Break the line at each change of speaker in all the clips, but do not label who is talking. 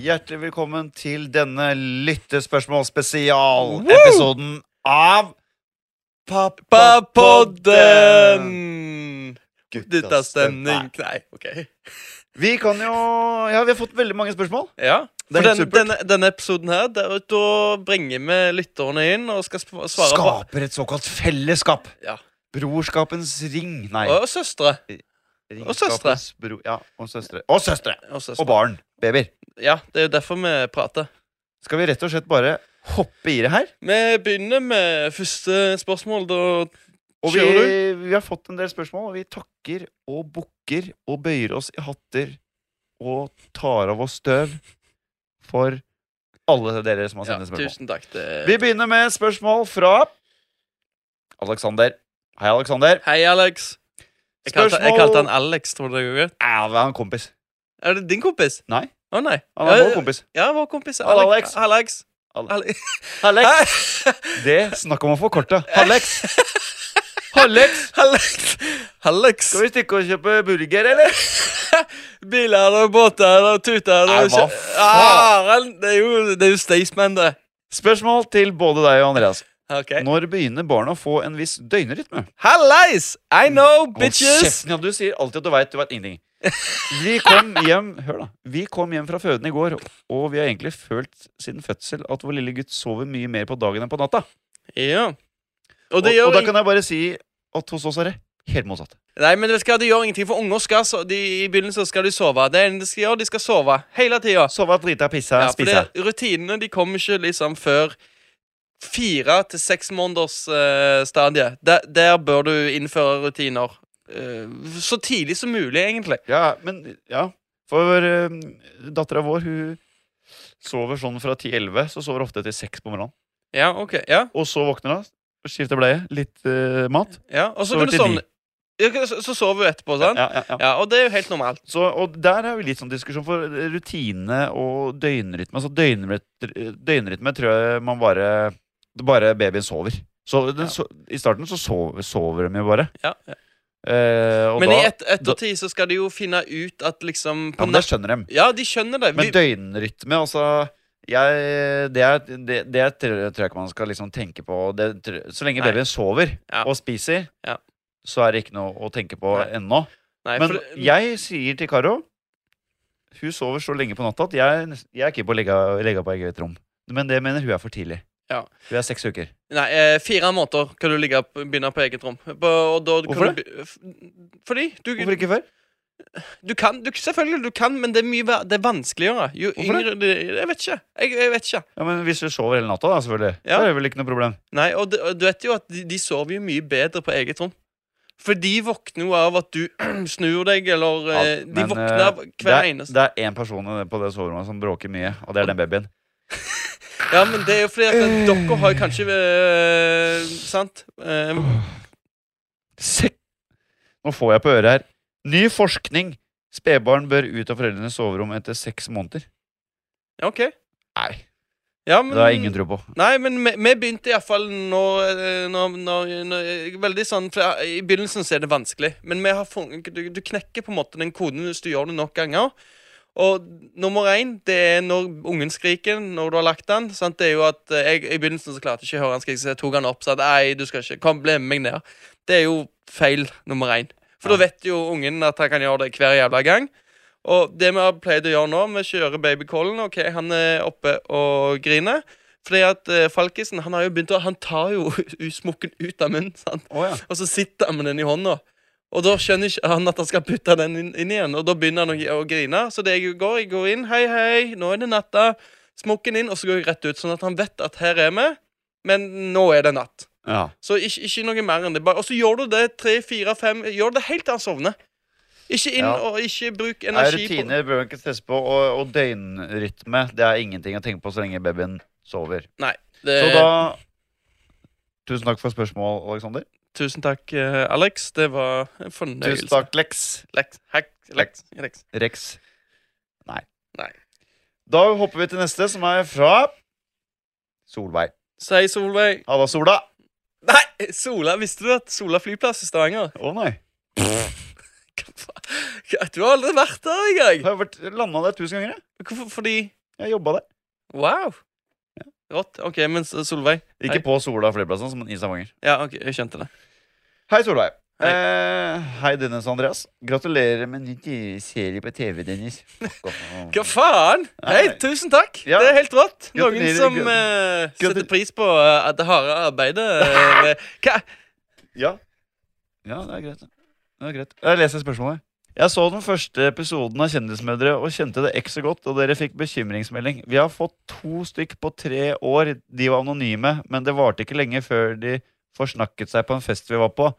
Hjertelig velkommen til denne lyttespørsmålspesialepisoden av Pappapodden!
Pappapodden!
Gutta stemning.
stemning Nei, ok.
Vi kan jo Ja, vi har fått veldig mange spørsmål.
Ja.
Det er
For
helt
den,
supert.
denne, denne episoden her, der, da bringer vi lytterne inn og skal sp- svare
Skaper et såkalt fellesskap.
Ja.
Brorskapens ring. Nei.
på Og søstre.
ringskapens Bro, ja, og søstre. Og søstre!
Og søstre.
Og barn. Babyer.
Ja, det er jo derfor vi prater.
Skal vi rett og slett bare hoppe i det her?
Vi begynner med første spørsmål, da.
Og vi,
Kjører
vi har fått en del spørsmål, og vi takker og bukker og bøyer oss i hatter og tar av oss støv for alle dere som har
Ja,
sendt inn spørsmål.
tusen takk. Det...
Vi begynner med et spørsmål fra Alexander. Hei, Alexander.
Hei, Alex. Jeg kalte, jeg
Spørsmål-
kalte han Alex, tror du det går greit?
Ja, vi har en kompis.
Er det din kompis?
Nei.
Å, nei.
Han er
Ja,
vår kompis.
Ja, vår kompis.
Hallo, Alex.
Alex.
Al-
Alex.
Alex.
Alex.
Det snakk om å forkorte. Alex. Alex.
Alex. Alex.
Skal vi stikke og kjøpe burger, eller?
Biler og båter og tuter
Nei,
og
hva
kjø-
faen?
Ah, det er jo, det er jo Staysman, det.
Spørsmål til både deg og Andreas.
Ok.
Når begynner barna å få en viss døgnrytme?
Hallais! I
Mm.
know,
Hold
bitches!
kjeften, ja, du sier alltid at du veit, du veit ingenting. Vi kom hjem Hør da Vi kom hjem fra føden i går, og vi har egentlig følt siden fødsel at vår lille gutt sover mye mer på dagen enn på natta.
Ja. Og
Og,
det gjør
og da
ing-
kan jeg bare si at hos oss er det helt motsatt.
Nei, men vet du hva, det gjør ingenting, for unger skal so de, i begynnelsen skal de sove. Det er det de skal gjøre, de skal sove hele tida.
Sove, drite, pisse, spise.
rutinene de kommer ikke liksom før fire til seks måneders eh, stadie. Der, der bør du innføre rutiner. eh, så tidlig som mulig, egentlig.
Ja, men Ja. For um, dattera vår, hun sover sånn fra 10-11, så sover hun ofte til 6 på morgenen.
Ja, ok. Ja.
Og så våkner hun, skifter bleie, litt eh, mat.
Ja, og så
Sover
kan du
til
sovne Ja, ok, så, så sover du etterpå, sant? Ja,
Ja, ja, ja.
og det er jo helt normalt.
Så, og der er jo litt sånn diskusjon for rutine og døgnrytme. Altså døgnrytme, døgnrytme tror jeg man bare det Bare babyen sover. Så, den,
Ja.
so, I starten så sover, sover de jo bare.
Ja, ja.
Eh, og
Men
da,
i et, ettertid så skal de jo finne ut at liksom
ja,
på
men da
natt-
skjønner de.
Ja, de skjønner det.
Men
Vi,
døgnrytme, altså jeg, det, er, det, det er- tror jeg ikke man skal liksom tenke på. Det, tror- så lenge
Nei.
babyen sover
Ja.
og spiser,
Ja.
så er det ikke noe å tenke på
Nei.
ennå.
nei,
Men
for,
jeg sier til Karo Hun sover så lenge på natta at jeg, er nest- jeg er ikke på å legge, legge på eget rom. Men det mener hun er for tidlig.
Ja.
Hun er seks uker.
nei eh, fire måneder kan du ligge, på- begynne på eget rom. På, og da, kan
Hvorfor
du be- f- Fordi du,
Hvorfor ikke før?
du kan du, Selvfølgelig, du kan, men det er mye va- Det er vanskeligere. Jo
Hvorfor det?
yngre det? Jeg vet ikke. Jeg, jeg vet ikke.
Ja, men Hvis hun sover hele natta, da, selvfølgelig.
Ja.
Da er det vel ikke noe problem.
Nei, og, det- og du vet jo at de, de sover jo mye bedre på eget rom. For de våkner jo av at du snur deg, eller
Ja,
eh,
men,
De våkner av
Det
hver
er-
eneste
Det er én person i det- på det soverommet som bråker mye, og det er den babyen.
Ja, men det er jo fordi at dere har jo kanskje eh, Sant? Eh,
Se- Nå får jeg på øret her. Ny forskning! Spedbarn bør ut av foreldrenes soverom etter seks måneder.
OK.
Nei,
Ja, men
det har jeg ingen tro på.
Nei, men vi, vi begynte iallfall nå, eh, nå, nå, nå Veldig sånn for eh, I begynnelsen så er det vanskelig, men vi har funnet, du, du knekker på en måte den koden hvis du gjør det nok ganger. Og nummer én, det er når ungen skriker, når du har lagt den. Sant? Det er jo at eh, jeg, I begynnelsen så klarte jeg ikke å høre han skrike, så jeg tok han opp og sa at, nei, du skal ikke Kom, bli med meg ned. Det er jo feil nummer én. For
Ja.
da vet jo ungen at han kan gjøre det hver jævla gang. Og det vi har pleid å gjøre nå, vi kjører babycallen. Ok, han er oppe og griner. Fordi at eh, Falkisen han har jo begynt å Han tar jo smokken ut av munnen, sant?
Å ja.
og så sitter han med den i hånda. Og da skjønner ikke han at han skal putte den inn, inn igjen, og da begynner han å, gi- å grine. Så det jeg går, jeg går inn, hei, hei, nå er det natta. Smokken inn, og så går jeg rett ut, sånn at han vet at her er vi, men nå er det natt.
ja.
Så ikke, ikke noe mer enn det. Bare, og så gjør du det tre, fire, fem Gjør det helt til han sovner. Ikke inn
Ja.
og ikke bruk
Nei,
energi på
rutiner bør man ikke stresse på, og, og døgnrytme det er ingenting å tenke på så lenge babyen sover.
Nei. Det,
Så da Tusen takk for spørsmål, Aleksander.
Tusen takk, eh, Alex. Det var en fornøyelse.
Tusen takk, Lex.
Lex, hack, Lex, Lex.
Rex. Nei.
Nei.
Da hopper vi til neste, som er fra Solveig.
Si Solveig.
Halla, Sola.
Nei! Sola, Visste du at Sola flyplass i Stavanger
Å nei.
Hva faen? Du har aldri vært der engang!
Har jeg vært landa der tusen ganger, jeg.
Hvorfor? Fordi
Jeg jobba der.
Wow! Rått. OK, men S- Solveig
Ikke
Hei.
på Sola flyplass, men i Stavanger.
Ja, ok, jeg skjønte det.
Hei, Solveig.
Hei.
Eh, hei, Dennis og Andreas. Gratulerer med ny serie på TV, Dennis.
Hva faen?
Nei.
Hei, tusen takk!
Ja.
Det er helt rått. Noen
Gratulerer,
som
gratulerer.
eh, setter pris på eh, at det harde arbeidet eh, ved- Hva?
Ja. ja, det er greit. Det er greit. Jeg leser spørsmålet. Jeg så den første episoden av Kjendismødre og kjente det ekstra godt, og dere fikk bekymringsmelding. Vi har fått to stykk på tre år. De var anonyme, men det varte ikke lenge før de forsnakket seg på en fest vi var på.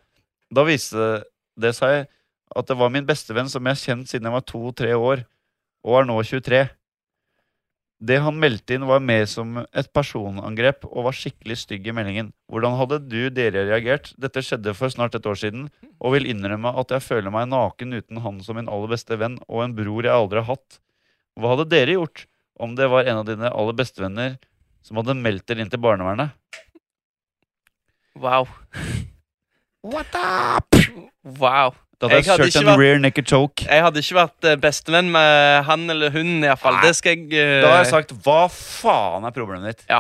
Da viste det seg at det var min bestevenn som jeg har kjent siden jeg var to-tre år, og er nå 23. Det han meldte inn, var mer som et personangrep og var skikkelig stygg i meldingen. Hvordan hadde du dere reagert? Dette skjedde for snart et år siden, og vil innrømme at jeg føler meg naken uten han som min aller beste venn og en bror jeg aldri har hatt. Hva hadde dere gjort om det var en av dine aller bestevenner som hadde meldt dere inn til barnevernet?
Wow.
What up?
Wow.
Da hadde
Jeg hadde
jeg kjørt
ikke
en
vært-
rear naked choke.
Jeg hadde ikke vært eh, bestevenn med han eller hun, iallfall.
Nei.
Det skal jeg eh,
Da har jeg sagt 'hva faen er problemet ditt'?
Ja.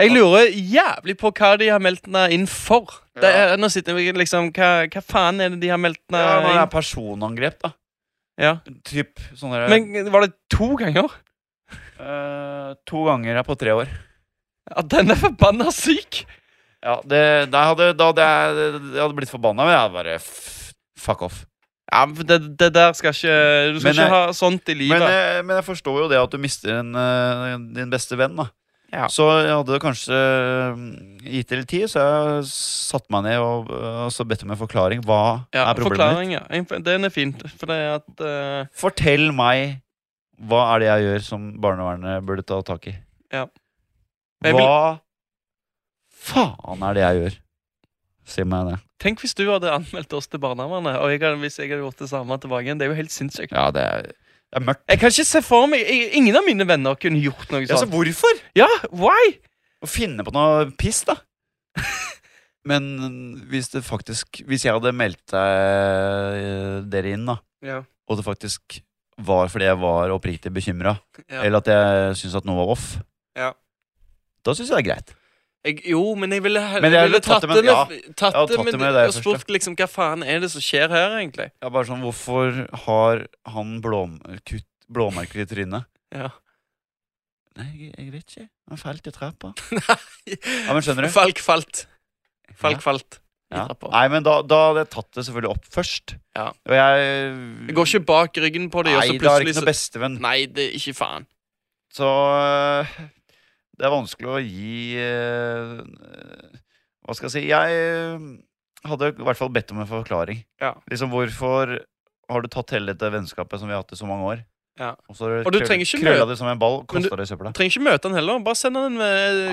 Jeg lurer jævlig på hva de har meldt henne inn for. Det er, nå sitter jeg liksom hva, hva faen er det de har meldt henne
Ja, når det er
inn
personangrep, da.
ja.
Typ sånn der
Men var det to ganger?
eh, To ganger er på tre år.
Ja, den er forbanna syk!
Ja, det, da hadde, da hadde jeg, jeg hadde blitt forbanna, men jeg hadde bare f- Fuck off.
Ja, men det, det der skal ikke Du skal
Men jeg-
ikke ha sånt i livet.
Men, eh, men jeg forstår jo det at du mister en, eh, din beste venn. da
Ja.
Så jeg hadde kanskje eh, gitt det litt tid, så jeg satte meg ned og, eh, og så bedt om en forklaring. Hva
ja,
er problemet ditt?
forklaring, ja. En- Den er fint. For det er at eh,
Fortell meg hva er det jeg gjør som barnevernet burde ta tak i.
Ja. Jeg vil-
Hva faen er det jeg gjør? Si meg det.
Tenk hvis du hadde anmeldt oss til barnevernet, og jeg hadde, hvis jeg hadde gjort det samme tilbake igjen. Det er jo helt sinnssykt.
Ja, det er, det er mørkt.
Jeg kan ikke se for meg jeg, Ingen av mine venner kunne gjort noe
Ja, så
sånt.
hvorfor?
Ja, why?
Å finne på noe piss, da. Men mm, hvis det faktisk Hvis jeg hadde meldt deg, dere inn, da,
Ja.
og det faktisk var fordi jeg var oppriktig bekymra,
Ja.
eller at jeg syntes at noe var off,
Ja.
da syns jeg det er greit.
Jeg, jo, men jeg ville,
Men jeg
jeg
ville
ville
tatt det med-
med, tatt
hadde
det
tatt
med,
det med det
og
første.
spurt liksom hva faen er det som skjer her, egentlig.
Ja, bare sånn, Hvorfor har han blåmerket, blåmerker i trynet?
Ja.
Nei, jeg, jeg vet ikke. Han falt i trappa. Ja, men skjønner du?
Falk falt. Falk falt. i
Ja.
trappa.
Nei, men da, da hadde jeg tatt det selvfølgelig opp først.
Ja.
Og jeg
Det går ikke bak ryggen på dem, og så
Nei, da er det
plutselig
ikke noe bestevenn.
så Nei, det er ikke faen.
Så øh, det er vanskelig å gi øh, øh, Hva skal jeg si Jeg øh, hadde i hvert fall bedt om en forklaring.
Ja.
Liksom Hvorfor har du tatt hele dette vennskapet som vi har hatt i så mange år?
Ja.
Og så
Og du
krøll-
trenger ikke
krølla
mø-
det som en ball,
Men du-
kasta det i søpla.
Trenger ikke møte han heller. Bare send han en eh,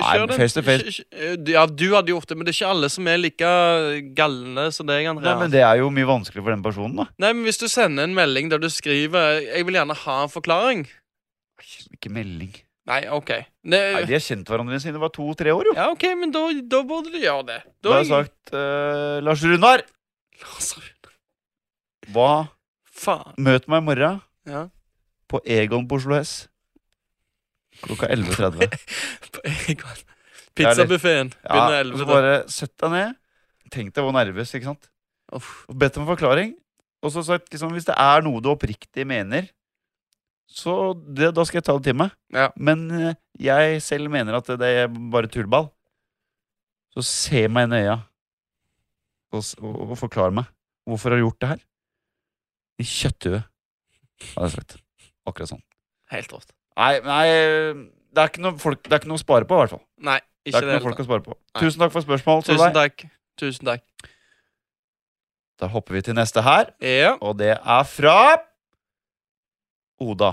Nei,
kjør
men
den.
face to face.
Kj- kj- Ja, du hadde gjort det, men det er ikke alle som er like galne som deg,
Nei,
Andreas.
men det er jo mye vanskeligere for den personen, da.
Nei, men Hvis du sender en melding der du skriver 'Jeg vil gjerne ha en forklaring'
Ikke melding.
Nei, OK. Det,
Nei, De har kjent hverandre siden de var to-tre år, jo.
Ja, OK, men da, da burde du gjøre det.
Da har jeg sagt øh, Lars Runar, hva
Faen.
Møt meg i morgen
Ja.
på Egon på Oslo S. Klokka 11.30.
Pizzabuffeen begynner
Ja, og så
11.
bare sett deg ned. Tenk deg hvor nervøs, ikke sant?
Uff.
Og bedt om en forklaring. Og så sagt liksom, hvis det er noe du oppriktig mener, så det, da skal jeg ta det til meg.
Ja.
Men eh, jeg selv mener at det er bare tullball. Så se meg inn i øya og, s- og, og forklar meg hvorfor har du gjort det her. I kjøtthue, hadde jeg sagt. Akkurat sånn.
Helt rått.
Nei, nei det, er ikke noe folk, det er ikke noe å spare på, i hvert fall.
Nei,
Det er
ikke
ikke
det.
noe
hele
folk
tatt.
å spare på.
Nei.
Tusen takk for spørsmål. Solveig.
Tusen takk. Tusen takk.
Da hopper vi til neste her,
Ja.
og det er fra Oda.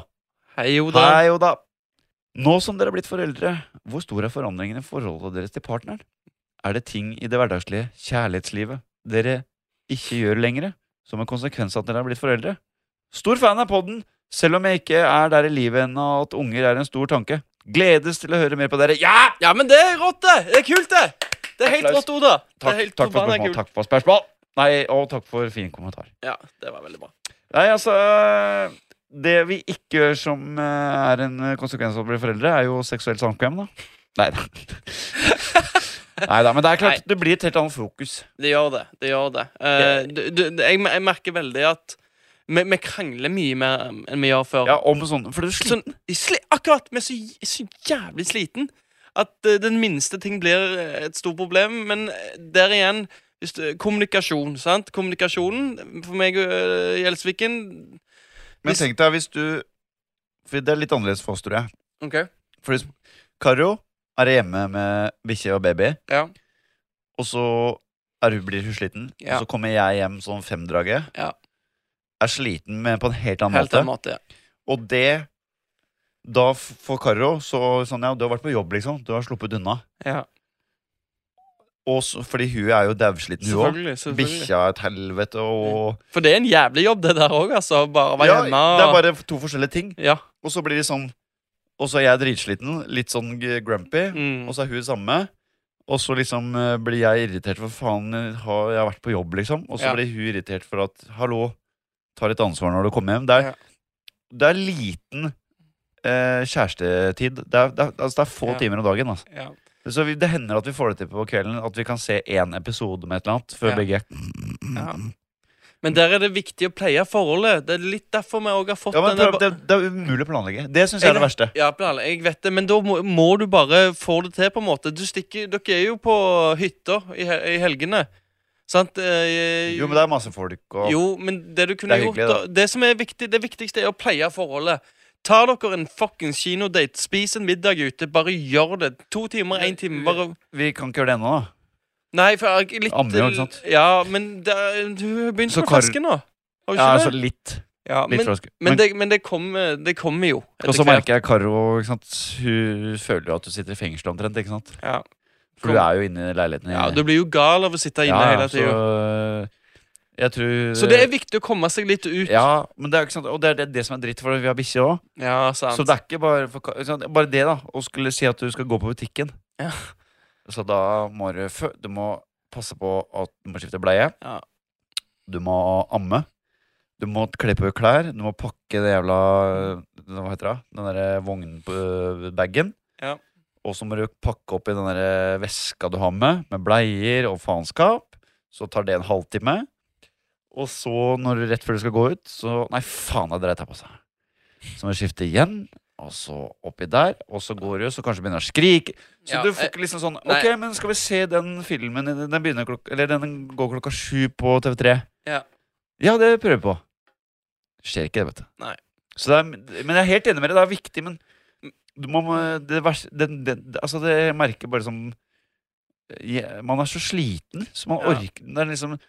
Hei, Oda.
Hei, Oda. Nå som dere er blitt foreldre, hvor stor er forandringen i forholdet deres til partneren? Er det ting i det hverdagslige kjærlighetslivet dere ikke gjør lenger, som en konsekvens av at dere er blitt foreldre? Stor fan av podden, selv om jeg ikke er der i livet ennå at unger er en stor tanke. Gledes til å høre mer på dere. Ja!
Ja, men det er rått, det! Det er kult, det! Det er helt
Applaus.
rått, Oda. det er
Takk,
helt
takk, for
forbanna
spørsmål,
kult.
takk for spørsmål. Nei, og takk for fin kommentar.
Ja, det var veldig bra.
Nei, altså det vi ikke gjør som eh, er en eh, konsekvens av å bli foreldre, er jo seksuelt samkvem, da. Nei da. men det er klart, det blir et helt annet fokus.
Det gjør det. det gjør det. Eh, du, du, jeg, jeg merker veldig at vi, vi krangler mye mer enn vi gjør før.
Ja, om sånn, for du er sliten.
Sånn, sli, akkurat! Vi er så, j- så jævlig sliten at eh, den minste ting blir eh, et stort problem. Men eh, der igjen hvis du, Kommunikasjon, sant? Kommunikasjonen for meg og eh, Gjelsviken
Men tenk deg hvis du For det er litt annerledes for oss, tror jeg.
OK.
For hvis Karo er hjemme med bikkje og baby,
Ja.
og så er hun, blir hun sliten.
Ja.
Og så kommer jeg hjem sånn femdraget.
Ja.
Er sliten, men på en helt annen
Helt
måte.
annen måte. Ja.
Og det Da f- for Karo så sånn, ja, Du har vært på jobb, liksom. Du har sluppet unna.
Ja.
Og så, fordi hun er jo dausliten, hun òg.
Selvfølgelig. selvfølgelig.
Bikkja er et helvete og
For det er en jævlig jobb, det der òg, altså. Bare være
ja,
hjemme og
Det er bare to forskjellige ting.
Ja.
Og så blir de sånn Og så er jeg dritsliten, litt sånn g- grumpy,
Mm.
og så er hun samme. Og så liksom eh, blir jeg irritert for faen, eh, har jeg har vært på jobb, liksom. Og så
Ja.
blir hun irritert for at hallo, ta litt ansvar når du kommer hjem. Det er,
Ja.
det er liten eh, kjærestetid. Det er, det, er, altså, det er få
Ja.
timer om dagen. Altså.
ja.
Så vi, det hender at vi får det til på kvelden, at vi kan se én episode med et eller annet før
Ja.
begge. Mm.
Ja. Men der er det viktig å pleie forholdet. Det er litt derfor vi òg har fått
Ja, men
denne
prøv, det, det er umulig å planlegge. Det syns jeg er det verste.
Ja, plan- jeg vet det, men da må, må du bare få det til, på en måte. Du stikker, dere er jo på hytta i, he- i helgene, sant? Eh,
Jo, men det er masse folk og
jo, men det du kunne
Det er
gjort
hyggelig,
da, Det som er viktig, det viktigste er å pleie forholdet. Ta dere en fuckings kinodate, spis en middag ute, bare gjør det. To timer, én time, bare
Vi kan ikke gjøre det ennå, da.
Nei, for jeg litt
Ammer jo, ikke sant?
Ja, men det, er- du begynte
Så
på
Kar-
fersken nå. Har du
Ja,
ikke
altså
det?
litt.
Ja,
litt
men,
frosk.
men, det, men det kommer det kommer jo. etter
Og så
hvert.
merker jeg Karo ikke sant? Hun føler jo at du sitter i fengsel omtrent. ikke sant?
Ja.
For du er jo inne i leiligheten. i-
Ja, du blir jo gal av å sitte inne
Ja, ja,
hele tida.
Så, eh, jeg tror
Så det er viktig å komme seg litt ut.
Ja, men det er jo ikke sant Og det er det, det som er dritt, for vi har bikkje òg.
Ja, sant.
Så det er ikke bare for, ikke sant? Bare det, da. Å skulle si at du skal gå på butikken.
Ja.
Så da må du fø- Du må passe på at du må skifte bleie.
Ja.
Du må amme. Du må kle på klær. Du må pakke det jævla eh, Hva heter det? Den derre vognbagen.
Ja.
Og så må du pakke opp i den derre veska du har med, med bleier og faenskap. Så tar det en halvtime. Og så, når du rett før du skal gå ut, så Nei, faen, da dreit jeg på seg. Så må du skifte igjen, og så oppi der, og så går du, så kanskje begynner å skrike. Så
Ja,
du får
eh,
ikke liksom sånn
nei.
Ok, men skal vi se den filmen Den, den begynner klokka Eller den går klokka sju på TV3.
Ja.
ja, det prøver vi på. Skjer ikke, det, vet du.
Nei.
Så det er, men jeg er helt enig med deg. Det er viktig, men du må, det, vers- den, den, altså det jeg merker bare som je- Man er så sliten, så man
Ja.
orker Det er liksom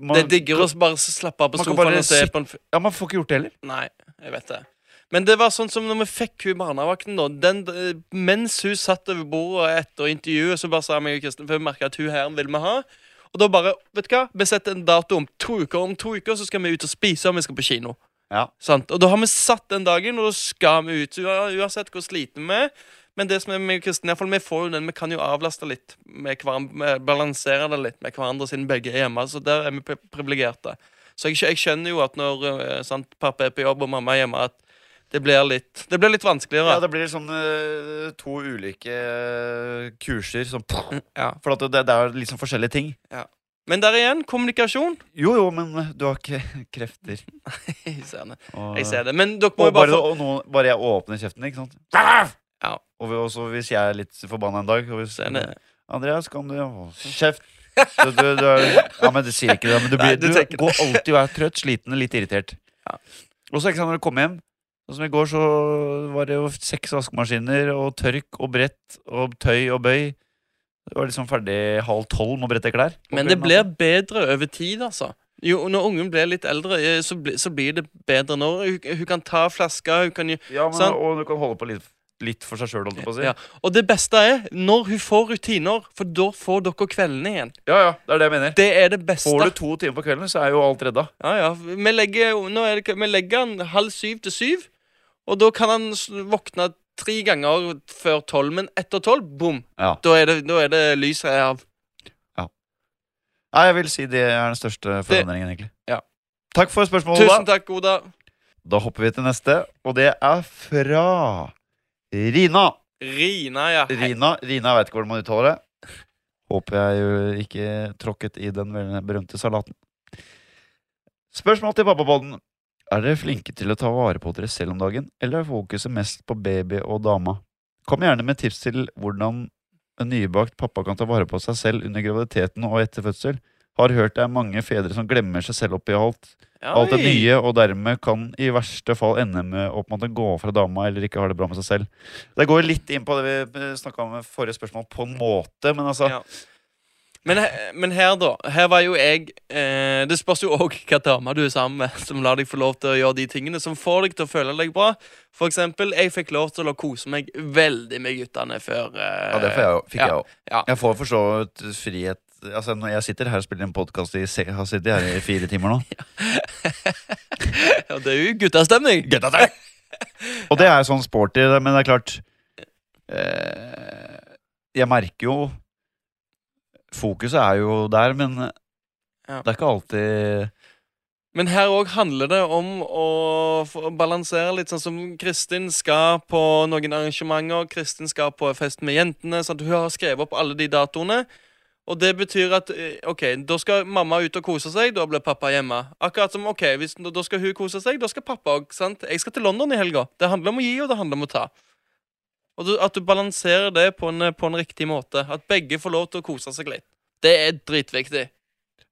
man,
Det er digger å bare s- slappe av på
Man kan
sofaen
bare
og se
sitte-
på en f
Ja, man får ikke gjort det heller.
Nei, jeg vet det. Men det var sånn som når vi fikk hun barnevakten, da. Den, eh, mens hun satt over bordet etter intervjuet, så bare sa meg og Kristin For vi merka at hun her vil vi ha. Og da bare Vet du hva? Vi setter en dato om to uker. Om to uker så skal vi ut og spise, og vi skal på kino.
Ja.
Sant? Og da har vi satt den dagen, og da skal vi ut. Ua- Uansett hvor sliten vi er. Men det som er med Kristin, i hvert fall, vi får jo den, vi kan jo avlaste litt. Med hveran- med- balansere det litt med hverandre siden begge er hjemme. Så der er vi pri- privilegerte. Så jeg, skjø- jeg skjønner jo at når eh, sant, pappa er på jobb og mamma er hjemme, at det blir litt, det blir litt
Ja,
vanskeligere.
det blir sånn eh, to ulike eh, kurser som
Ja.
For at det, det er liksom forskjellige ting.
Men der igjen, kommunikasjon.
Jo, jo, men eh, du har ikke krefter.
Jeg ser det.
Og,
Jeg ser det. Men dere må jo
og
bare
bare,
få
og nå, bare jeg åpner kjeften, ikke sant?
Ja.
Og vi- også hvis jeg er litt forbanna en dag og hvis,
Se det.
Andreas, kan du Å, Kjeft! Du, du, du er, ja, men du sier ikke det. Men du, blir,
Nei, du
du,
tenker-
går alltid og er trøtt, sliten og litt irritert.
Ja.
Og så ikke sant, når du kommer hjem Sånn som i går, så var det jo seks vaskemaskiner og tørk og brett og tøy og bøy. Det var liksom ferdig halv tolv med å brette klær.
Men det blir bedre over tid, altså. Jo, og når ungen blir litt eldre, eh, så, bli, så blir det bedre nå. Hun, hun kan ta flasker, hun kan gjøre
Ja, men,
sant?
og du kan holde på litt, litt for seg sjøl, holdt jeg på å si.
sånn- ja. Og det beste er når hun får rutiner, for da får dere kveldene igjen.
Ja, ja, det er det jeg mener.
Det er det beste.
Får du to timer på kvelden, så er jo alt redda.
Ja, ja. Vi legger, nå er det, vi legger han halv syv til syv, og da kan han s- våkne tre ganger før tolv. Men etter tolv, bom!
Ja.
Da er det, da er det lyset er av.
Nei, jeg vil si det er den største forandringen, egentlig.
Ja.
Takk for spørsmålet.
Tusen
Oda.
takk, Oda.
Da hopper vi til neste, og det er fra Rina.
Rina, ja. Hei.
Rina, Rina jeg vet ikke hvordan man uttaler det. Håper jeg jo ikke tråkket i den vel- berømte salaten. Spørsmål til pappapodden. Er dere flinke til å ta vare på dere selv om dagen, eller er fokuset mest på baby og dama? Kom gjerne med tips til hvordan en nybakt pappa kan ta vare på seg selv under graviditeten og etter fødsel. Har hørt det er mange fedre som glemmer seg selv oppi alt. Alt det
Oi.
nye, og dermed kan i verste fall ende med å på en måte gå fra dama eller ikke ha det bra med seg selv. Det går litt inn på det vi snakka om i forrige spørsmål, på en måte, men altså
Ja. Men, he- men her, da. Her var jo jeg eh, Det spørs jo òg hva dame du er sammen med, som lar deg få lov til å gjøre de tingene som får deg til å føle deg bra. For eksempel, jeg fikk lov til å kose meg veldig med guttene før eh,
Ja, det får jeg, jo- fikk
ja.
jeg òg.
Ja.
Jeg får for så vidt frihet Altså, når jeg sitter her og spiller en podkast i se- Har sittet her i fire timer nå.
Ja, det er jo guttastemning.
Og det er sånn sporty, men det er klart eh, Jeg merker jo Fokuset er jo der, men
Ja.
det er ikke alltid
Men her òg handler det om å få- balansere litt, sånn som Kristin skal på noen arrangementer. Kristin skal på fest med jentene. Sant? Hun har skrevet opp alle de datoene. Og det betyr at eh, ok, da skal mamma ut og kose seg, da blir pappa hjemme. Akkurat som ok, hvis, da skal hun kose seg, da skal pappa òg. Jeg skal til London i helga. Det handler om å gi, og det handler om å ta. Og du, At du balanserer det på en, på en riktig måte. At begge får lov til å kose seg litt. Det er dritviktig.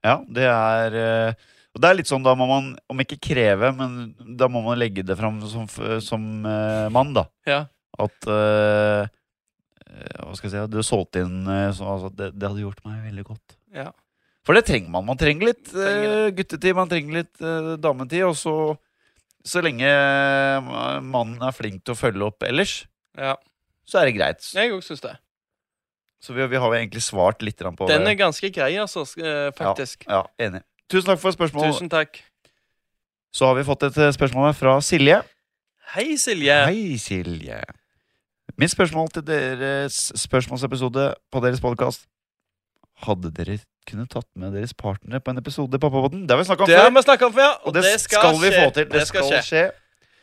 Ja, det er eh, Og det er litt sånn, da må man, om ikke kreve, men da må man legge det fram som, f- som eh, mann, da.
Ja.
At eh, eh, Hva skal jeg si at Du solgte inn eh, så, altså, det, det hadde gjort meg veldig godt.
Ja.
For det trenger man. Man trenger litt
Trenger
eh, guttetid, man trenger litt eh, dametid. Og så, så lenge eh, mannen er flink til å følge opp ellers,
Ja,
så er det greit.
Jeg òg syns det.
Så vi, vi har jo egentlig svart litt grann på
Den er
det.
ganske grei, altså, sk- eh, faktisk.
Ja, enig. Tusen takk for spørsmålet.
Tusen takk.
Så har vi fått et eh, spørsmål her fra Silje.
Hei, Silje.
Hei, Silje. Mitt spørsmål til deres spørsmålsepisode på deres podkast Hadde dere kunnet tatt med deres partnere på en episode i Pappabåten? Det har vi snakka om
Det har
før,
vi snakket om før,
og det, skal, vi
skje.
få til. Det, skal, skje.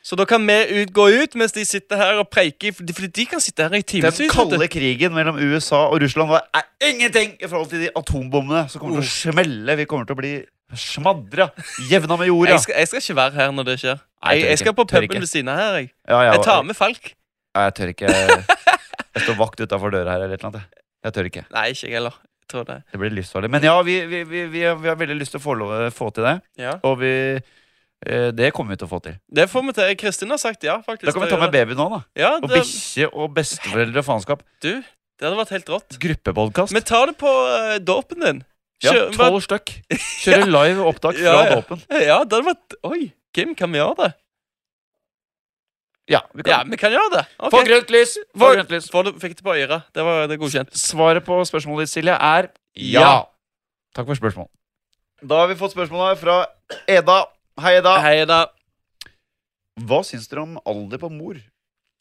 Så da kan vi ut, gå ut mens de sitter her og preiker, for de, fordi de kan sitte her i timevis.
Den
vet du.
kalde krigen mellom USA og Russland var, er ingenting i forhold til de atombommene som kommer til å smelle. Vi kommer til å bli smadra. Jevna med jorda.
Jeg, skal, jeg skal ikke være her når det skjer.
Nei,
Jeg,
tør
jeg
ikke,
skal på
tør
puben
ikke.
ved siden av her. Jeg,
Ja, ja,
jeg tar med Falk.
Nei, Jeg tør ikke. Jeg står vakt utafor døra her eller et eller annet. jeg. Jeg tør ikke.
Nei, ikke jeg heller. Jeg tror det.
Det blir livsfarlig. Men ja, vi, vi, vi, vi, har- vi har veldig lyst til å få, lov, få til det.
Ja.
Og vi, eh, det kommer vi til å få til.
Det får vi til. Kristin har sagt ja, faktisk.
Da kan vi ta med baby nå, da.
Ja,
Og
det,
bikkje og besteforeldre og faenskap.
det hadde vært helt rått.
Gruppepodkast.
Vi tar det på eh, dåpen din.
Ja,
Kjør-
tolv stykk. Kjøre live opptak fra
Ja, ja.
dåpen.
ja, det hadde vært Oi, Kim, kan vi gjøre det?
Ja, vi
Ja,
kan.
vi kan gjøre det. Ok.
Få grønt lys! Få
Få-
grønt lys.
Får du- fikk det på øret. Det var det er godkjent.
Svaret på spørsmålet ditt, Silje, er
Ja.
Takk for spørsmål. Da har vi fått spørsmål her fra Eda. Hei, Eda.
Hei da.
Hva syns dere om alder på mor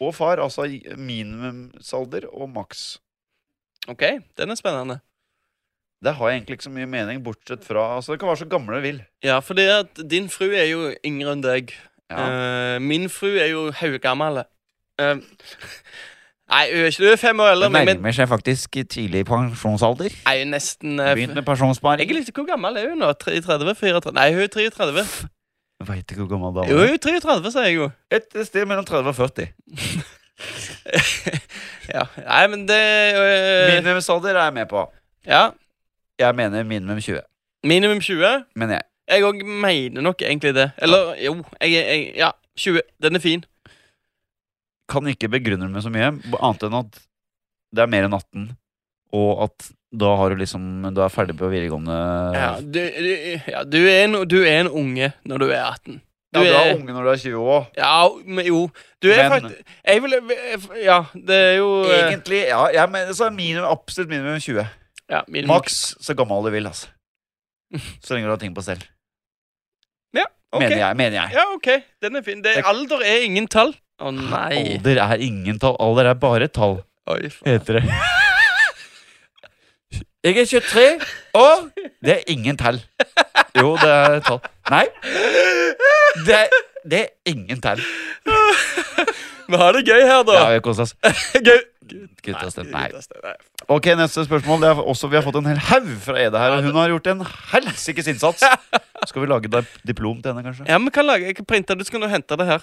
og far? Altså minimumsalder og maks.
Ok, den er spennende.
Det har jeg egentlig ikke så mye mening, bortsett fra Altså, det kan være så gamle du vil.
Ja, fordi at din fru er jo yngre enn deg.
Ja.
Eh, min fru er jo haugammel. Eh, nei, hun er ikke hun er fem år eldre, men, men
seg faktisk tidlig pensjonsalder.
nei, hun er nesten eh,
Begynt
f-
med pensjonssparing.
Jeg likte hvor gammel er hun nå? 33? 34? Nei, hun er 33.
Veit ikke hvor gammel
Jo, hun er 33, sier jeg jo.
Et sted mellom 30 og 40.
Ja. Nei, men det eh,
Minimumsalder er jeg med på.
Ja.
Jeg mener minimum 20.
Minimum 20.
Men jeg.
Jeg òg mener nok egentlig det. Eller jo, jeg, jeg Ja, 20. Den er fin.
Kan ikke begrunne det med så mye, b- annet enn at det er mer enn 18, og at da har du liksom Du er ferdig på videregående
Ja, du, du, ja, du, er en, du er en unge når du er 18.
Ja, du er
er-
unge når du er 20 òg.
Ja, men jo. Du er
Men-
faktisk Jeg vil Ja, det er jo eh,
Egentlig, ja. Jeg mener, så er minimum, absolutt minimum 20.
ja, minimum.
Maks så gammel du vil, altså. Så lenge du har ting på stell.
Ok.
Mener jeg. mener jeg
Ja, OK. Den er fin. Det,
Jeg-
alder er ingen tall. Å nei.
Alder er ingen tall. Alder er bare tall,
Oi, faen.
heter det. Jeg er 23 år. Det er ingen tall. Jo, det er tall. Nei. Det er Det er ingen tegn.
Vi har det gøy her, da.
Ja, vi koser oss.
gøy.
Gutta stemmer. Nei.
gutta stemmer. Nei.
Ok, neste spørsmål. Det er også, vi har fått en hel haug fra Ede her. og Hun har gjort en helsikes innsats. Skal vi lage dip- diplom til henne, kanskje?
Ja, vi kan lage, jeg kan printe det, så kan du hente det her.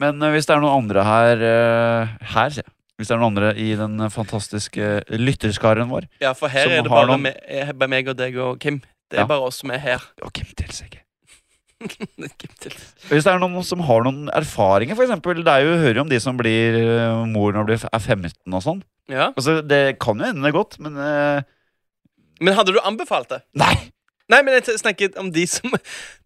Men eh, hvis det er noen andre her eh, Her, sier jeg. Hvis det er noen andre i den fantastiske eh, lytterskaren vår
Ja, for her
Som
er det
har
bare
noen-
meg, eh, bare meg og deg og Kim. Det er
Ja.
bare oss som er her.
Og Kim Tilsegge.
Kim til.
Hvis det er noen som har noen erfaringer, f.eks. Det er jo, hører jo om de som blir eh, mor når de er 15 og sånn.
Ja.
Altså, Det kan jo ende godt, men eh,
Men hadde du anbefalt det?
Nei!
Nei, men jeg t- snakket om de som,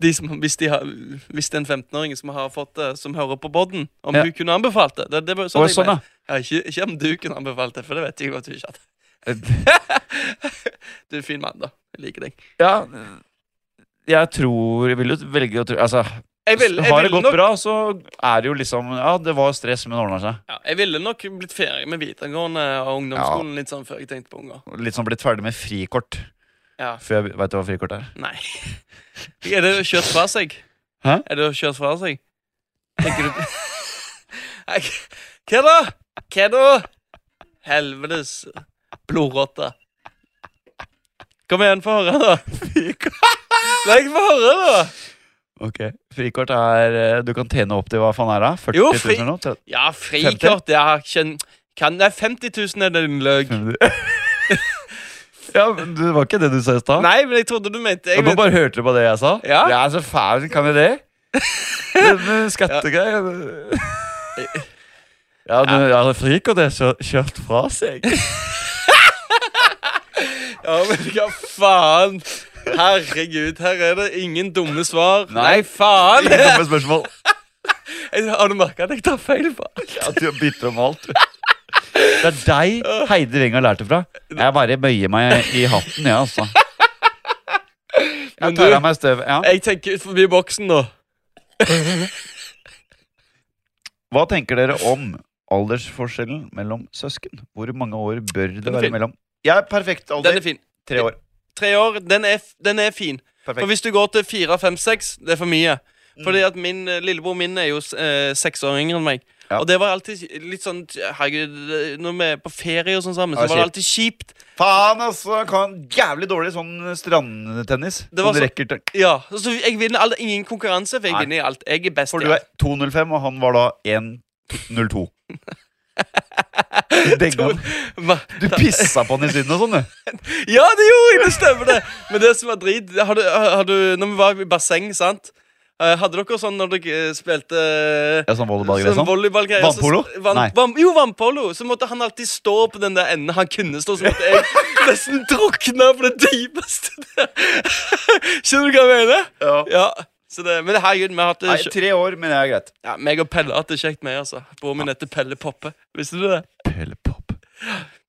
de som hvis, de har, hvis det er en 15-åring som har fått det, som hører på podden, om
Ja.
du kunne anbefalt det. det, det
Å,
var jo sånn jeg
sånn,
mente.
ja.
ja, ikke, ikke om du kunne anbefalt det, for det vet jeg jo at du ikke hadde. Du er en fin mann, da. Jeg liker deg.
ja. Jeg tror Jeg vil jo velge å tro Altså,
Jeg ville, jeg
har det
ville
gått
nok,
bra, så er det jo liksom Ja, det var stress, men det ordna seg.
ja, jeg ville nok blitt ferdig med videregående og ungdomsskolen litt sånn før jeg tenkte på unger.
Litt sånn blitt ferdig med frikort.
Ja.
Før jeg veit hva frikort er.
Nei. Er det kjørt fra seg?
Hæ?
Er det kjørt fra seg? Tenker du Nei, Hva da? Hva da? Helvetes blodrotte. Kom igjen, få høre, da. La jeg få høre, da.
Ok Frikort er eh, Du kan tjene opp til hva faen er det? 40
Jo,
000
fri-
eller noe? Tre-
Ja, frikort det er kjen... Kan, nei, 50 000 er det din løk.
ja, men det var ikke det du sa i stad?
Nei, men jeg trodde du mente jeg
Og nå
mente,
bare hørte du på det jeg sa?
Ja.
Jeg er så fæl, kan jeg det? Den eh, skattegreia det- Ja, du, ja, frikort er så kjørt fra seg.
Ja, men hva faen? Herregud, her er det ingen dumme svar. Nei,
Nei.
faen!
Ingen dumme spørsmål.
Jeg, har du merka at jeg tar feil på alt?
Ja, du er bitter om alt. Det er deg Heidi Weng har lært det fra. Jeg bare bøyer meg i hatten, jeg, altså.
Men
Jeg tar
du-
av meg støv. Ja.
Jeg tenker ut forbi boksen nå.
Hva tenker dere om aldersforskjellen mellom søsken? Hvor mange år bør det
Den er
være
fin.
mellom? Jeg er perfekt
Den
alder.
er fin.
Tre år.
Tre år, den er, f- den er fin. For
Perfekt. Mm.
hvis du går til fire, fem, seks, det er for mye. Fordi at min eh, lillebror min er jo s- eh, seks år yngre enn meg.
Ja.
Og det var alltid litt sånn Herregud, det- når vi er på ferie og sånn sammen, så
Ja,
var det alltid kjipt.
Faen, altså! jeg Kan jævlig dårlig sånn strandtennis.
Det var
Som du
så-
rekker til.
Ja, så jeg vinner alt, ingen konkurranse, for jeg
Nei.
vinner i alt. Jeg er best
For
i
du er
alt.
2,05, og han var da 1,02. Du denga han.
Hva-
Du pissa på han i siden og sånn, du.
Ja, det gjorde jeg! Det stemmer, det. Men det som var drit det- har du, har du, Når vi var i basseng, sant Eh, Hadde dere sånn når dere eh, spilte eh,
Ja, sånn volleyballgreier
Sånn
og sånn.
volleyballgreier.
Vannpolo?
Så, vann,
Nei.
vann, jo, vannpolo. Så måtte han alltid stå på den der enden han kunne stå. Så måtte jeg nesten drukne på det dypeste der. Skjønner du hva jeg mener?
Ja.
Ja. Så det, men herregud, vi har hatt det
Nei, tre år, men det er greit.
ja, meg og Pelle har hatt det kjekt, med, altså. Broren min heter Pelle Poppe. Visste du det?
Pellepop.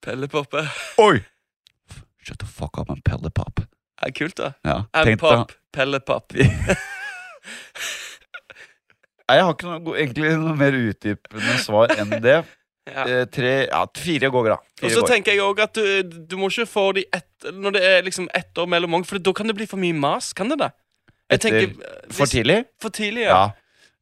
Pelle Poppe.
Oi! Shut the fuck up, man. Pellepop.
Ja, kult, da.
Ja, tenk
I'm
deg-
Pop. Pelle Pop.
Nei, jeg har ikke noe, go- egentlig noe mer utdypende svar enn det.
Ja.
Eh, tre, ja, fire går bra. Fire
Og så
går.
tenker jeg også at du, du må ikke få de ett Når det er liksom ett år mellom mange, for da kan det bli for mye mas. Kan det det? Jeg
Etter-
tenker, eh, hvis-
For tidlig?
For tidlig,
Ja.
ja.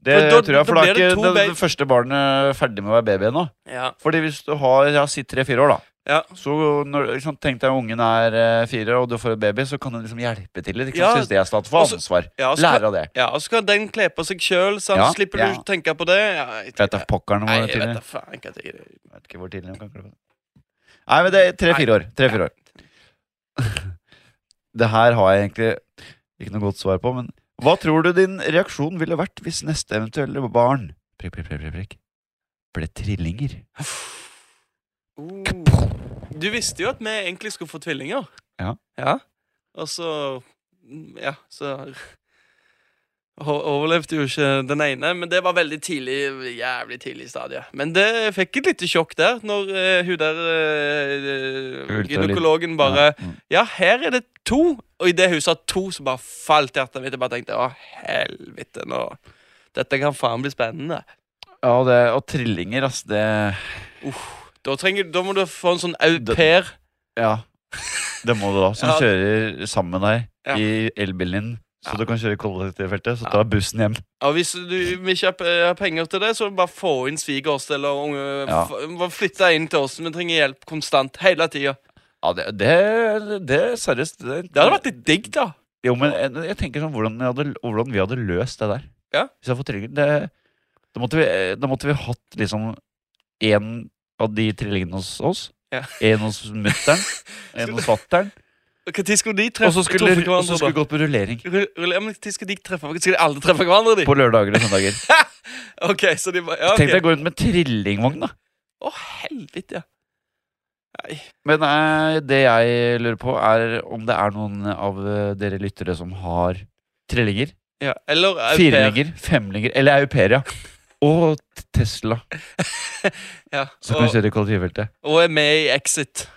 Det
For da-
tror jeg, for
da
da er
blir det
ikke
to
det,
baby-
det første barnet ferdig med å være baby ennå.
ja.
Fordi hvis du har ja, sitt tre-fire år, da
ja.
Så når, ikke sant, Tenk deg ungen er eh, fire, og du får en baby, så kan den liksom hjelpe til litt. Ikke
Ja.
sant? Synes det er stat for
Og så- Altså,
ansvar.
Ja, og så
Lære av det.
Ja, og så skal den kle på seg sjøl, sant?
Ja,
slipper
ja.
du å tenke på det. Ja, jeg
Vet da
tenker-
pokkeren
Nei,
hvor
jeg vet
tidlig.
da faen hva jeg gjør.
Vet ikke hvor tidlig de kan klippe det. Nei, men det er tre-fire år. Tre-fire år. det her har jeg egentlig ikke noe godt svar på, men hva tror du din reaksjon ville vært hvis neste eventuelle barn prikk, prikk, prikk, prikk, prikk, ble trillinger?
Oh. Du visste jo at vi egentlig skulle få tvillinger.
Ja.
Og så Ja, så Ho- Overlevde jo ikke den ene, men det var veldig tidlig. Jævlig tidlig stadie. Men det jeg fikk et lite sjokk der, når eh, hun der eh, eh,
Ultralyd.
gynekologen bare
Ja, mm.
Ja, her er det to. Og idet hun sa to, så bare falt hjertet mitt. Jeg bare tenkte å, helvete nå. Dette kan faen bli spennende.
ja det, og trillinger, ass, det
Da, trenger, da må du få en sånn au pair.
Ja. Det må du da. Som
Ja.
kjører sammen med deg
Ja.
i elbilen din. Så du kan kjøre i kollektivfeltet, så ta bussen hjem.
Ja, Hvis du vi ikke har p- har penger til det, så er det bare få inn svigers eller unge
Ja.
f- Bare flytte inn til oss. Vi trenger hjelp konstant. Hele tida.
Ja, det, det, det seriøst det,
Det hadde vært litt digg, da.
Jo, men jeg, jeg tenker sånn hvordan, jeg hadde, hvordan vi hadde løst det der.
Ja.
Hvis jeg hadde fått tryggen det, da, måtte vi, da måtte vi hatt liksom én av de trillingene hos oss.
Ja.
En hos mutter'n, en hos fatter'n.
Når skulle de
Og
treffe
så skulle
treffe
og så
hverandre?
skulle vi gått på rullering.
da? Rull- rull- ja, men Når skal de treffe hverandre? Skal de alle treffe hverandre? de?
På lørdager og søndager.
Ok, så de bare, ja,
Tenk deg å
ok.
gå rundt med trillingvogn, da.
Å, helvete, ja. Nei.
Men eh, det jeg lurer på, er om det er noen av eh, dere lyttere som har trillinger.
Ja. Eller au pair.
Firlinger, femlinger, eller au pair, ja. Og t- Tesla,
Ja.
som kan
Og,
kjøre i kollektivfeltet.
og er med i Exit.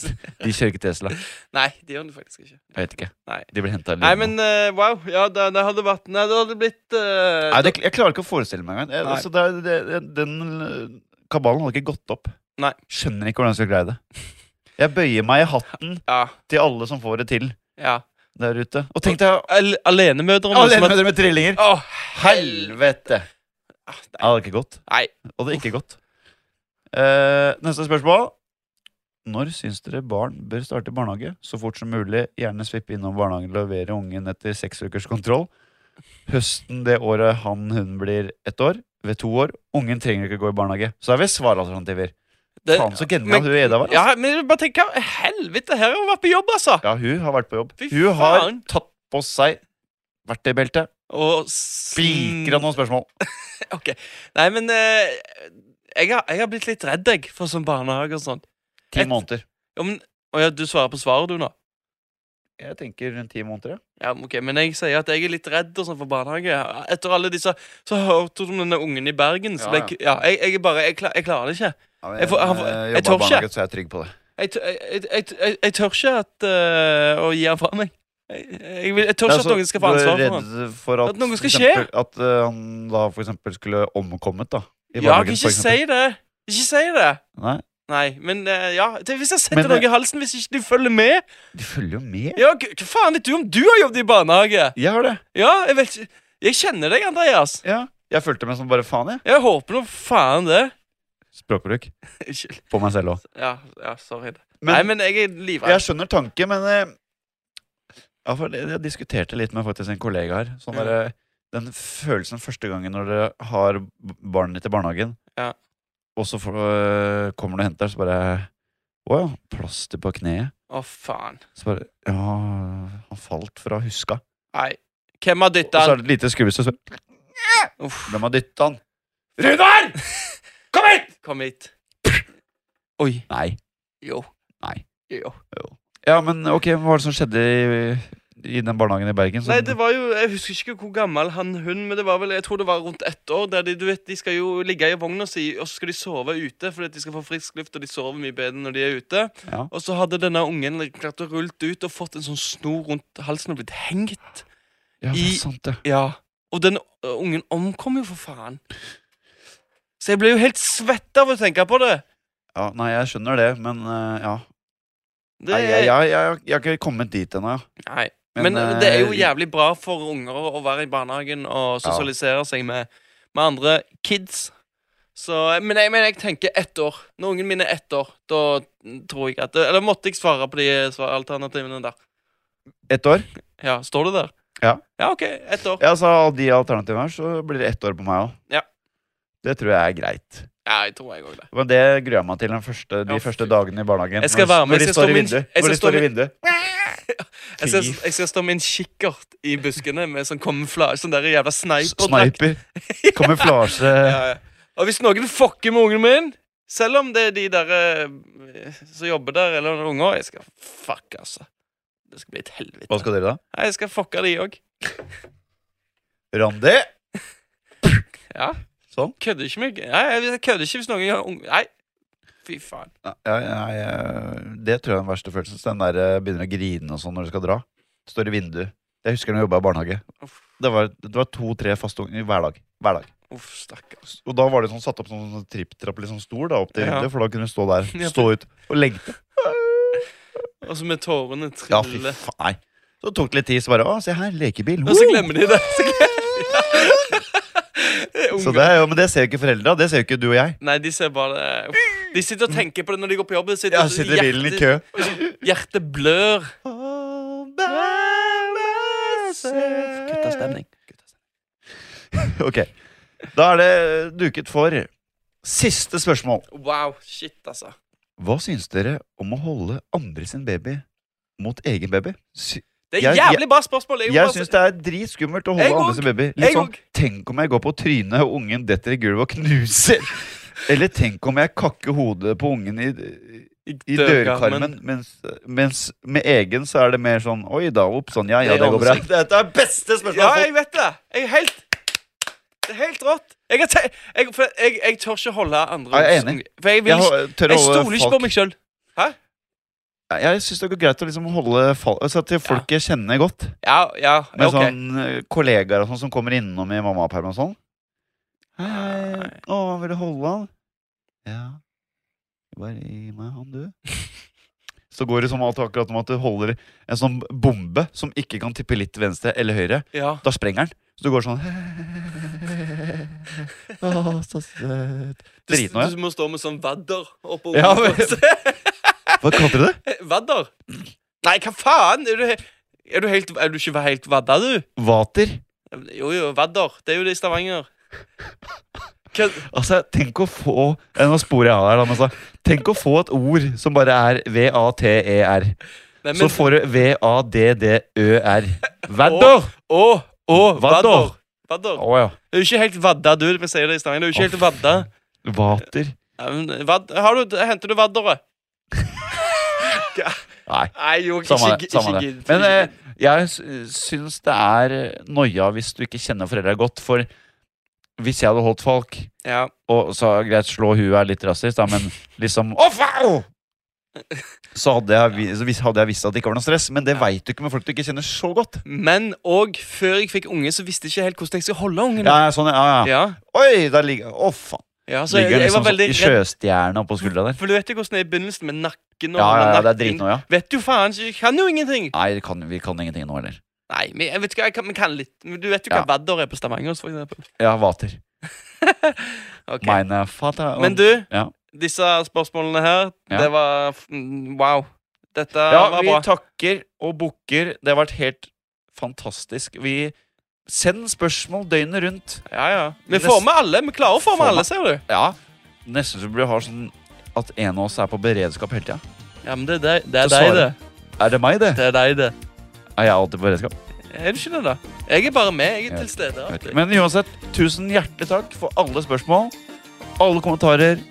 De kjører ikke Tesla.
Nei, det gjør den faktisk ikke.
Jeg vet ikke.
Nei.
De blir henta
Nei, men eh, wow. Ja, det, det hadde vært Nei, det hadde blitt eh,
Nei, det, Jeg klarer ikke å forestille meg engang. Jeg-
Nei.
Altså, det, det, det- den eh, kabalen hadde ikke gått opp.
Nei.
Skjønner ikke hvordan jeg skal greie det. Jeg bøyer meg i hatten
Ja.
til alle som får det til
ja.
der ute. Og tenk deg
Al Alenemødre.
alle mødre med trillinger!
Å, helvete.
Helvete!
Ah,
Det hadde ikke gått.
Nei.
Og det er ikke godt. Eh, neste spørsmål. Når syns dere barn bør starte i barnehage? Så fort som mulig. Gjerne svippe innom barnehagen og levere ungen etter seks ukers kontroll. Høsten det året han/hun blir ett år. Ved to år. Ungen trenger ikke gå i barnehage. Så er vi svaralternativer.
Det-
Faen så genial
men-
hun Eda var. Altså.
Ja, men bare tenk hva- Helvete, her har hun vært på jobb, altså!
Ja, hun har vært på jobb.
Fy
Hun har
faen.
tatt på seg verktøybeltet.
Og
Spikra noen spørsmål.
Ok. Nei, men eh, jeg, har, jeg har blitt litt redd, jeg, for sånn barnehage og sånt.
Ti
Et-
måneder.
Ja, men, å ja, du svarer på svaret, du, nå?
Jeg tenker rundt ti måneder, ja.
Ja, men ok, Men jeg sier at jeg er litt redd og sånn for barnehage. Etter alle disse Så hørte du om denne ungen i Bergen.
Ja,
Så ble jeg, ja, jeg, jeg, er bare, jeg, klar, jeg klarer det ikke.
Ja, men
Jeg får- han får-
eh,
jeg
jobber
tør
i barnehage,
ikke.
Så er jeg trygg på det.
Jeg, tør- jeg, jeg, jeg, jeg tør ikke at, eh, å gi han fra meg. Jeg, jeg, vil- jeg tør
Nei,
ikke
altså,
at noen skal få ansvar
Du
for
er
han.
redd for at,
At noe skal
for eksempel, At eh, han da for eksempel skulle omkommet, da. i
Ja,
barnehagen,
ikke
for eksempel.
si det! Ikke si det!
Nei,
Nei, men eh, ja det, Hvis jeg
Men, eh,
setter noe i halsen, hvis ikke du følger med
de følger jo med.
Ja, g- Hva faen vet du om du har jobbet i barnehage?
Jeg har det.
Ja, jeg vet ikke Jeg kjenner deg, Andreas.
Ja. Jeg fulgte med som bare faen, jeg.
Jeg håper nå faen det.
Språkbruk.
Unnskyld.
På meg selv òg.
Ja, ja, sorry.
Men,
Nei, men jeg er livredd.
jeg skjønner tanken, men eh, ja, for jeg, jeg diskuterte litt med faktisk en kollega her. Sånn
Ja.
der, eh, den følelsen første gangen når dere har b- barnet ditt i barnehagen,
Ja.
og så får, eh, kommer du og henter, så bare Å ja. Plaster på kneet.
Å, faen.
Så bare Ja, han falt fra huska.
Nei. Hvem har
Og
dytta
så er
han?
det et lite skummelt så
Uff.
Hvem har dytta han?
Runar! Kom hit! Kom hit. Oi.
Nei.
Jo.
Nei.
Jo.
Ja, men ok, hva var det som skjedde i, i den barnehagen i Bergen? som-
Nei, det var jo Jeg husker ikke hvor gammel han hun Men det var vel Jeg tror det var rundt ett år. Der de, du vet, de skal jo ligge i vogna si, og så skal de sove ute fordi at de skal få frisk luft, og de sover mye bedre når de er ute.
Ja.
Og så hadde denne ungen klart å rulle ut og fått en sånn snor rundt halsen og blitt hengt.
ja, det
i-
er sant, det.
Ja. Og den ø, ungen omkom jo, for faen. Så jeg ble jo helt svett av å tenke på det.
Ja, nei, jeg skjønner det, men eh, ja.
det
Nei, jeg, jeg, jeg, jeg har ikke kommet dit ennå. ja.
Nei. Men,
eh,
det er jo jævlig bra for unger å være i barnehagen og sosialisere seg med, med andre kids. Så, men, jeg, men jeg tenker ett år. Når ungen min er ett år, da tror jeg at Eller måtte jeg svare på de svar- alternativene der?
Ett år?
Ja, Står det der?
Ja.
Ja, OK. Ett år.
Ja, så Av de alternativene her, så blir det ett år på meg òg.
Ja.
Det tror jeg er greit.
Ja, jeg tror jeg òg det.
Men det gruer jeg meg til den første, de
Ja,
første
fy-
dagene i barnehagen.
Jeg skal
når-
være med,
Når de
jeg skal stå
står i
min-
vinduet.
jeg skal
Når de
stå
står i
min-
vinduet.
Jeg skal, jeg skal stå med en kikkert i buskene med sånn kamuflasje. Sånn der jævla sniperdrakt.
Sniper. Kamuflasje.
Ja, ja. Og hvis noen fucker med ungen min, selv om det er de der eh, som jobber der, eller noen unger Jeg skal fuck, altså. Det skal bli et helvete.
Hva skal dere, da?
Nei, jeg skal fucke de òg.
Randi?
Ja.
Sånn.
Kødder ikke meg. Nei, jeg kødder ikke hvis noen gjør ung... Nei. Fy faen.
Ja, ja, ja, ja. Det tror jeg er den verste følelsen. Så Den der eh, begynner å grine og sånn når du skal dra. Står i vinduet. Jeg husker når jeg jobba i barnehage.
Uff,
Det var, det var to-tre faste unger hver dag. Hver dag.
uff stakkars.
Og da var det sånn satt opp sånn, sånn tripp-trapp liksom stor da, opp til
Ja.
vinduet, for da kunne du stå der,
Ja.
stå ut og lengte.
Og så med tårene
Ja, fy
trille.
faen. Nei. Så tok det litt tid, så bare Å, se her, lekebil.
Og så
Woo!»
glemmer de det. Så glemmer
Så det er jo, Men det ser jo ikke foreldra. Det ser jo ikke du og jeg.
Nei, de ser bare De sitter og tenker på det når de går på jobb. De sitter,
Jeg Mm. sitter i bilen i kø.
hjerte- Hjertet blør.
Guttastemning. Ok. Da er det duket for siste spørsmål.
Wow. Shit, altså.
Hva syns dere om å holde andre sin baby mot egen baby? Sy
Det er
Jeg-
jævlig bra spørsmål.
jeg syns det er dritskummelt å holde
Jeg
andre
òg.
sin baby.
Jeg
Litt sånn,
òg.
Tenk om jeg går på trynet, og ungen detter i gulvet og knuser. Eller tenk om jeg kakker hodet på ungen i, i dørkarmen, mens, mens med egen så er det mer sånn Oi da, opp, sånn, ja, ja, det går bra.
Dette er beste
spørsmål
Ja,
jeg har fått.
jeg vet det. Jeg er helt Det er helt rått. Jeg, har te- jeg, for jeg, jeg tør ikke holde andre
Ja, jeg er enig.
unge- For jeg, vil,
Jeg,
ikke-
ho- tør å
jeg
holde
stoler ikke på
folk-
meg sjøl.
Jeg syns det går greit å liksom holde fal altså, til folk jeg kjenner godt.
Ja, ja,
Med
ok.
sånn eh, kollegaer og sånn som kommer innom i mammaperm og sånn. Hei. Å, vil du holde han? Ja. Bare gi meg han, du. Så går det som alt akkurat om at du holder en sånn bombe som ikke kan tippe litt venstre eller høyre.
Ja.
Da sprenger den. Så du går sånn Å, så søt.
Du,
Drit nå, ja.
du må stå med sånn vadder oppå
Ja,
hodet.
Hva kalte du det?
Vadder? Nei, hva faen? Er du, he- er du, helt, er du ikke helt vadda, du?
Vater.
Jo, jo, vadder. Det er jo det i Stavanger. Hva,
Altså, tenk å få eh, Nå sporer jeg av her, da, men altså, tenk å få et ord som bare er V-A-T-E-R.
nei, men,
E Så får du V-A-D-D-Ø-R. Vadder!
Å, å, vadder.
Vadder.
Vadder.
Å ja.
Du er ikke helt vadda, du. Vi sier det i Stavanger. Du er ikke
Å,
helt vadda.
Vater.
Ja, men vad, har du, henter du vadderet?
Nei.
Nei, jo, ikke,
Samme det.
ikke,
Samme det.
gidd.
Men eh, jeg s- syns det er eh, noia hvis du ikke kjenner foreldra godt, for hvis jeg hadde holdt folk
ja.
og så er det greit, slå huet er litt rasist, da, men liksom Å, faen! Så hadde jeg, vi- så hvis- hadde jeg visst at det ikke var noe stress, men det veit du ikke med folk du ikke kjenner så godt.
Men òg før jeg fikk unge, så visste jeg ikke helt hvordan jeg skulle holde ungen.
Ja, sånn, ja, ja.
Mm. ja.
Oi, der ligger Å, faen.
ja så Altså, jeg,
Ligger den
jeg
liksom
var veldig
sånn i
redd.
sjøstjerna oppå skuldra der?
For du vet jo hvordan det er i begynnelsen med nakken og
Ja, ja, ja,
med
det er
nakken.
dritnoia.
Vet du faen ikke, jeg kan jo ingenting
Nei, vi kan, vi kan ingenting nå heller.
Nei, men jeg vet ikke, jeg kan, men kan litt Men Du vet jo hva
Ja.
vadder er på Stavanger for eksempel
Ja, vater. eh,
Ok.
Meine fata
Men du,
Ja.
disse spørsmålene her
Ja.
Det var, f- mm, wow Dette
Ja,
var
vi
bra
takker og bukker. Det har vært helt fantastisk. Vi Send spørsmål døgnet rundt.
ja, ja. Vi
Nest-
får med alle, vi klarer å få
Får
med alle,
med-
ser du
Ja. Nesten så burde vi ha sånn at en av oss er på beredskap hele tida.
Ja, men det er deg
Så
det, er deg,
svarer-
det.
Er det meg, det?
det er deg det
Er jeg alltid på beredskap?
Er du ikke det da? Jeg er bare med, jeg
Ja.
er til stede
Jeg vet
alltid.
ikke. Men uansett, tusen hjertelig takk for alle spørsmål, alle kommentarer,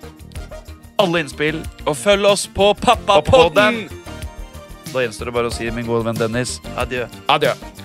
alle innspill.
Og følg oss på
Pappapodden.
Pappapodden
Da gjenstår det bare å si, min gode venn Dennis
Adjø
Adjø.